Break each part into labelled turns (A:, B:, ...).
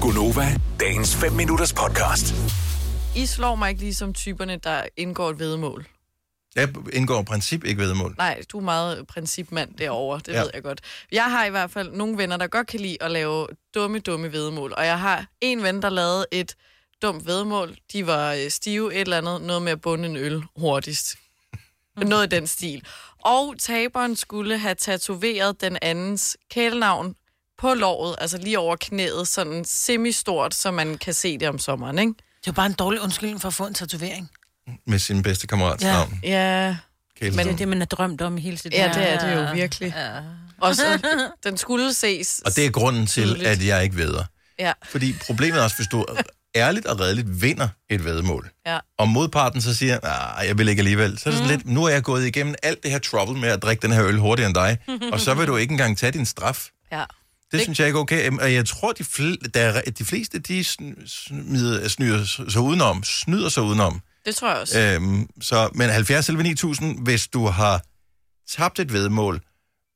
A: Gunova, dagens 5 minutters podcast.
B: I slår mig ikke lige som typerne, der indgår et vedemål.
C: Jeg indgår i princip ikke vedmål.
B: Nej, du er meget principmand derovre, det
C: Ja.
B: ja. ved jeg godt. Jeg har i hvert fald nogle venner, der godt kan lide at lave dumme, dumme vedemål. Og jeg har en ven, der lavede et dumt vedemål. De var øh, stive et eller andet, noget med at bunde en øl hurtigst. Noget i den stil. Og taberen skulle have tatoveret den andens kælenavn på låret, altså lige over knæet, sådan semistort, så man kan se det om sommeren, ikke?
D: Det er jo bare en dårlig undskyldning for at få en tatovering.
C: Med sin bedste kammerats
D: Ja.
C: navn.
B: Ja,
C: Kæleson.
E: Det, man har drømt om hele sit
B: ja det er det jo virkelig.
D: Ja.
B: Og så, den skulle ses.
C: Og det er grunden til,
B: Tydeligt.
C: at jeg ikke veder.
B: Ja,
C: Fordi problemet er også, hvis du ærligt og redeligt vinder et vedmål,
B: ja.
C: og modparten så siger, nej, jeg vil ikke alligevel, så er det sådan lidt, nu er jeg gået igennem alt det her trouble med at drikke den her øl hurtigere end dig, og så vil du ikke engang tage din straf.
B: Ja.
C: Det,
B: Det-
C: synes jeg ikke er okay. Øhm, Og jeg tror, de, fl- der er, de fleste, de sn- smider, snyder sig udenom, snyder sig udenom.
B: Det tror jeg også. Øh.
C: Øhm, så, men 70 eller 9000, hvis du har tabt et vedmål,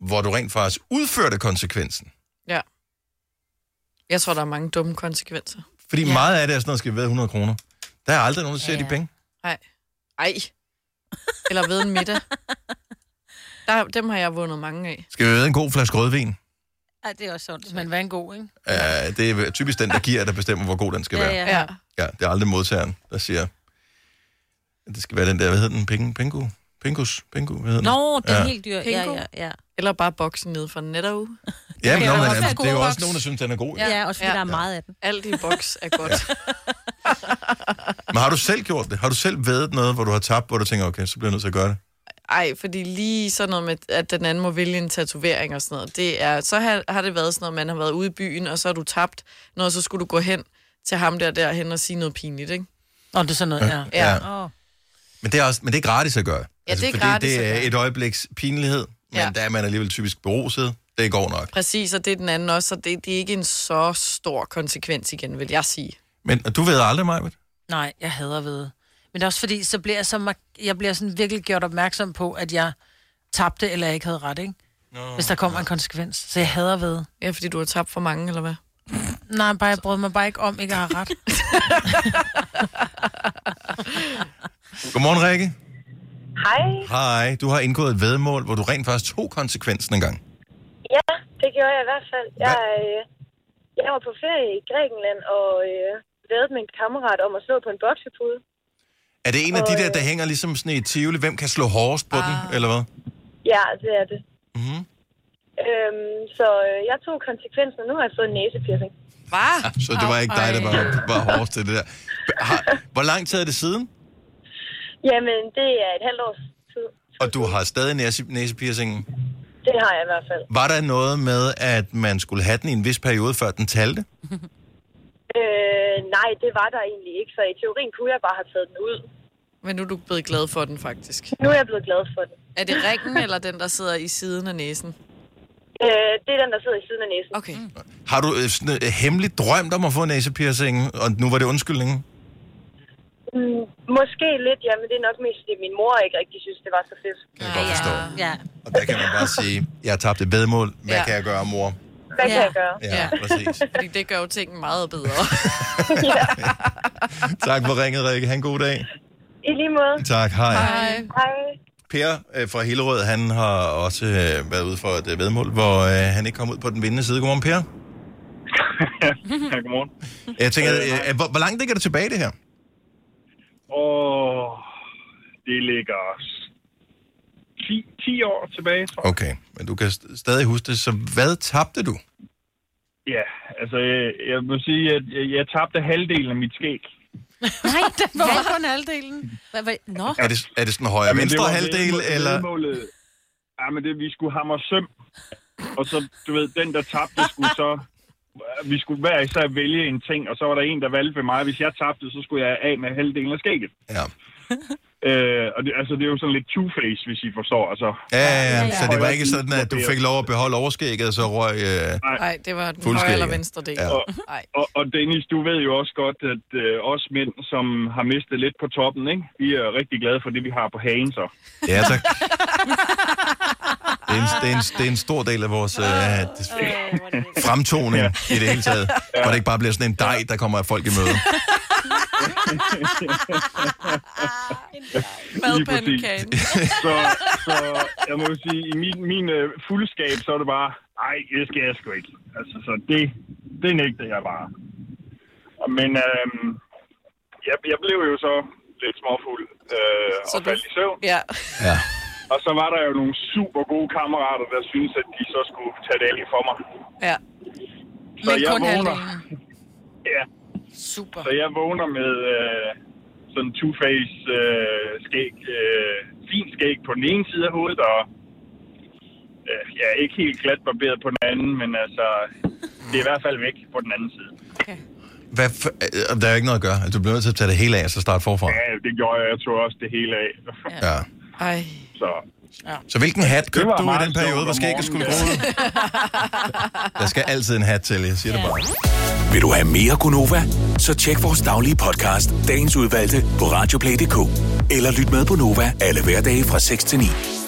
C: hvor du rent faktisk udførte konsekvensen.
B: Ja. Jeg tror, der er mange dumme konsekvenser.
C: Fordi ja. meget af det er sådan noget, skal vi ved 100 kroner. Der er aldrig nogen, der ser ja,
D: Ja,
C: ja. de
D: ja.
C: penge.
B: Nej. Ej. Eller ved en middag. Der, dem har jeg vundet mange af.
C: Skal vi ved en god flaske rødvin?
E: Ja, det er også sundt.
D: Men hvad er en god, ikke?
C: Ja. Uh, det er typisk den, der giver, der bestemmer, hvor god den skal ja, være. Ja.
B: Ja.
C: ja, det er aldrig modtageren, der siger, at det skal være den der, hvad hedder den? Penge, pengu? Pengus? Pengu? Hvad hedder den?
E: Nå, den er
C: Ja.
E: helt dyr. Ja,
B: Pingo.
E: ja, ja.
B: Eller bare boksen ned fra netto.
C: Ja, men,
D: Det
C: nå,
D: kan
C: men
D: også være
C: altså, det er jo
D: god
C: også
D: voks.
C: nogen, der synes, den er god. Ja.
E: Ja, ja også fordi
B: Ja.
E: ja. der er meget af den.
B: Alt i boks er godt.
C: Men har du selv gjort det? Har du selv vedet noget, hvor du har tabt, hvor du tænker, okay, så bliver jeg nødt til at gøre det?
B: Ej, fordi lige sådan noget med, at den anden må vælge en tatovering og sådan noget, det er, så har, har det været sådan noget, man har været ude i byen, og så har du tabt, når så skulle du gå hen til ham der derhen og sige noget pinligt, ikke?
D: Nå, det er sådan noget, ja.
B: Ja.
D: Åh.
C: Men det, er også, men det er gratis at gøre. Altså,
B: Ja, det er
C: fordi
B: gratis
C: det
B: at
C: er
B: gøre.
C: et øjebliks pinlighed, men ja.
B: Ja.
C: der er man alligevel typisk beruset. Det går nok.
B: Præcis, og det er den anden også, så det, det er ikke en så stor konsekvens igen, vil jeg sige.
C: Men og du ved aldrig, mig.
D: Nej, jeg hader ved. Men det er også fordi, så bliver jeg, så mar- jeg bliver sådan virkelig gjort opmærksom på, at jeg tabte eller jeg ikke havde ret, ikke? Nå, Hvis der kommer en konsekvens. Så jeg hader ved.
B: Ja, fordi du har tabt for mange, eller hvad?
D: Nej, bare, jeg brød mig bare ikke om, ikke at have ret.
C: Godmorgen, Rikke.
F: Hej.
C: Hej. Du har indgået et vedmål, hvor du rent faktisk tog konsekvensen en gang.
F: Ja, det gjorde jeg i hvert fald. Jeg, øh, jeg var på ferie i Grækenland og øh, vædede med en kammerat om at slå på en boksepude.
C: Er det en af de
F: Åh,
C: der,
F: ja.
C: der hænger ligesom sådan i et tivoli? Hvem kan slå hårdest på ah. den, eller hvad?
F: Ja, det er det.
C: Mhm.
F: Øhm, så øh, jeg tog konsekvensen, og nu har jeg fået en næsepiercing.
B: Hvad?
C: Så det var ikke dig, der
B: Ej.
C: var, var hårdest til det der. Har, hvor lang tid er det siden?
F: Jamen, det er et halvt års tid.
C: Og du har stadig næse, næsepiercingen.
F: Det har jeg i hvert fald.
C: Var der noget med, at man skulle have den i en vis periode, før den talte?
F: Øh, nej, det var der egentlig ikke, så i teorien kunne jeg bare have taget den ud.
B: Men nu er du blevet glad for den, faktisk.
F: Nu er jeg blevet glad for den.
B: Er det ringen, eller den, der sidder i siden af næsen?
F: Øh, det er den, der sidder i siden af næsen.
B: Okay. Mm.
C: Har du øh, sådan, øh, hemmeligt drømt om at få næsepiercingen, og nu var det undskyldningen?
F: Mm, måske lidt, ja, men det er nok mest, fordi min mor ikke rigtig synes, det var så fedt.
C: Kan jeg godt forstå.
E: Ja.
C: Og der kan man bare sige, jeg har tabt et vedmål. Hvad
B: Ja.
C: kan jeg gøre, mor?
F: Hvad kan
E: Ja.
F: jeg gøre?
C: Ja,
B: Ja.
C: præcis.
B: Fordi det gør jo tingene meget bedre.
C: Tak for ringet, Rikke. Han god dag.
F: I lige måde.
C: Tak, hej.
B: Hej.
F: Hej.
C: Per øh, fra Hillerød, han har også øh, været ude for et øh, vedmål, hvor øh, han ikke kom ud på den vindende side. Godmorgen, Per.
G: ja, godmorgen.
C: Jeg tænker, øh, øh, hvor, hvor langt ligger det tilbage, det her?
G: Og det ligger 10, 10 år tilbage, tror jeg.
C: Okay, men du kan st- stadig huske det. Så hvad tabte du?
G: Ja, altså jeg, jeg må sige, at jeg, jeg tabte halvdelen af mit skæg.
E: Nej, den var
D: Hvor kun halvdelen?
E: Hvad, hvad? Nå,
C: Er det, er det sådan højre
G: Men det
C: venstre
G: var
C: halvdel,
G: vedmål-
C: eller?
G: vedmålet- Ja, men det, vi skulle hamre søm. Og så, du ved, den der tabte skulle så... Vi skulle hver især vælge en ting, og så var der en, der valgte ved mig. Hvis jeg tabte, så skulle jeg af med halvdelen af skægget.
C: Ja.
G: Øh, og det, altså, det er jo sådan lidt two-face, hvis I forstår. Altså,
C: Ja, ja, ja,
E: ja.
C: så det var ikke sådan, at du fik lov at beholde overskægget, og så røg... Øh...
B: Nej, det var den
C: Fuldstændig.
B: højre eller venstre del.
C: Ja.
B: Nej.
G: Og, og Dennis, du ved jo også godt, at øh, os mænd, som har mistet lidt på toppen, ikke? vi er rigtig glade for det, vi har på hagen så.
C: Ja, tak. Det er en, det er en, det er en stor del af vores øh, fremtoning i det hele taget. Hvor det ikke bare bliver sådan en dej, der kommer af folk i møde.
G: Lige præcis. så, så jeg må jo sige, i min, min øh, fuldskab, så er det bare, nej, det skal jeg sgu ikke. Altså, så det, det nægter jeg bare. Og- Men øh, jeg, jeg blev jo så lidt småfuld øh, og faldt i søvn.
B: Ja.
C: Ja.
G: Og så var der jo nogle super gode kammerater, der syntes, at de så skulle tage det af for mig.
B: Ja.
G: Så
D: Men
G: jeg
D: kun
G: vågner.
D: halvdelen.
G: Ja.
D: Super.
G: Så jeg vågner med øh, sådan en two-face øh, skæg, øh, fin skæg på den ene side af hovedet, og øh, jeg er ikke helt glat barberet på den anden, men altså, det er i hvert fald væk på den anden side.
C: Hvad for, øh, der er jo ikke noget at gøre. Altså, du bliver nødt til at tage det hele af, og så starte forfra.
G: Ja, det gjorde jeg. Jeg tog også det hele af.
C: Ja.
B: Ej.
G: Så
C: Så hvilken hat
G: det
C: købte
G: var
C: du i
G: meget
C: den
G: sjovt
C: periode,
G: om
C: hvor skægget skulle gro
G: morgenen.
C: ud? Der skal altid en hat til, jeg siger det bare.
A: Vil du have mere Gunova? Så tjek vores daglige podcast, dagens udvalgte, på radioplay.dk. Eller lyt med på Nova alle hverdage fra 6 til 9.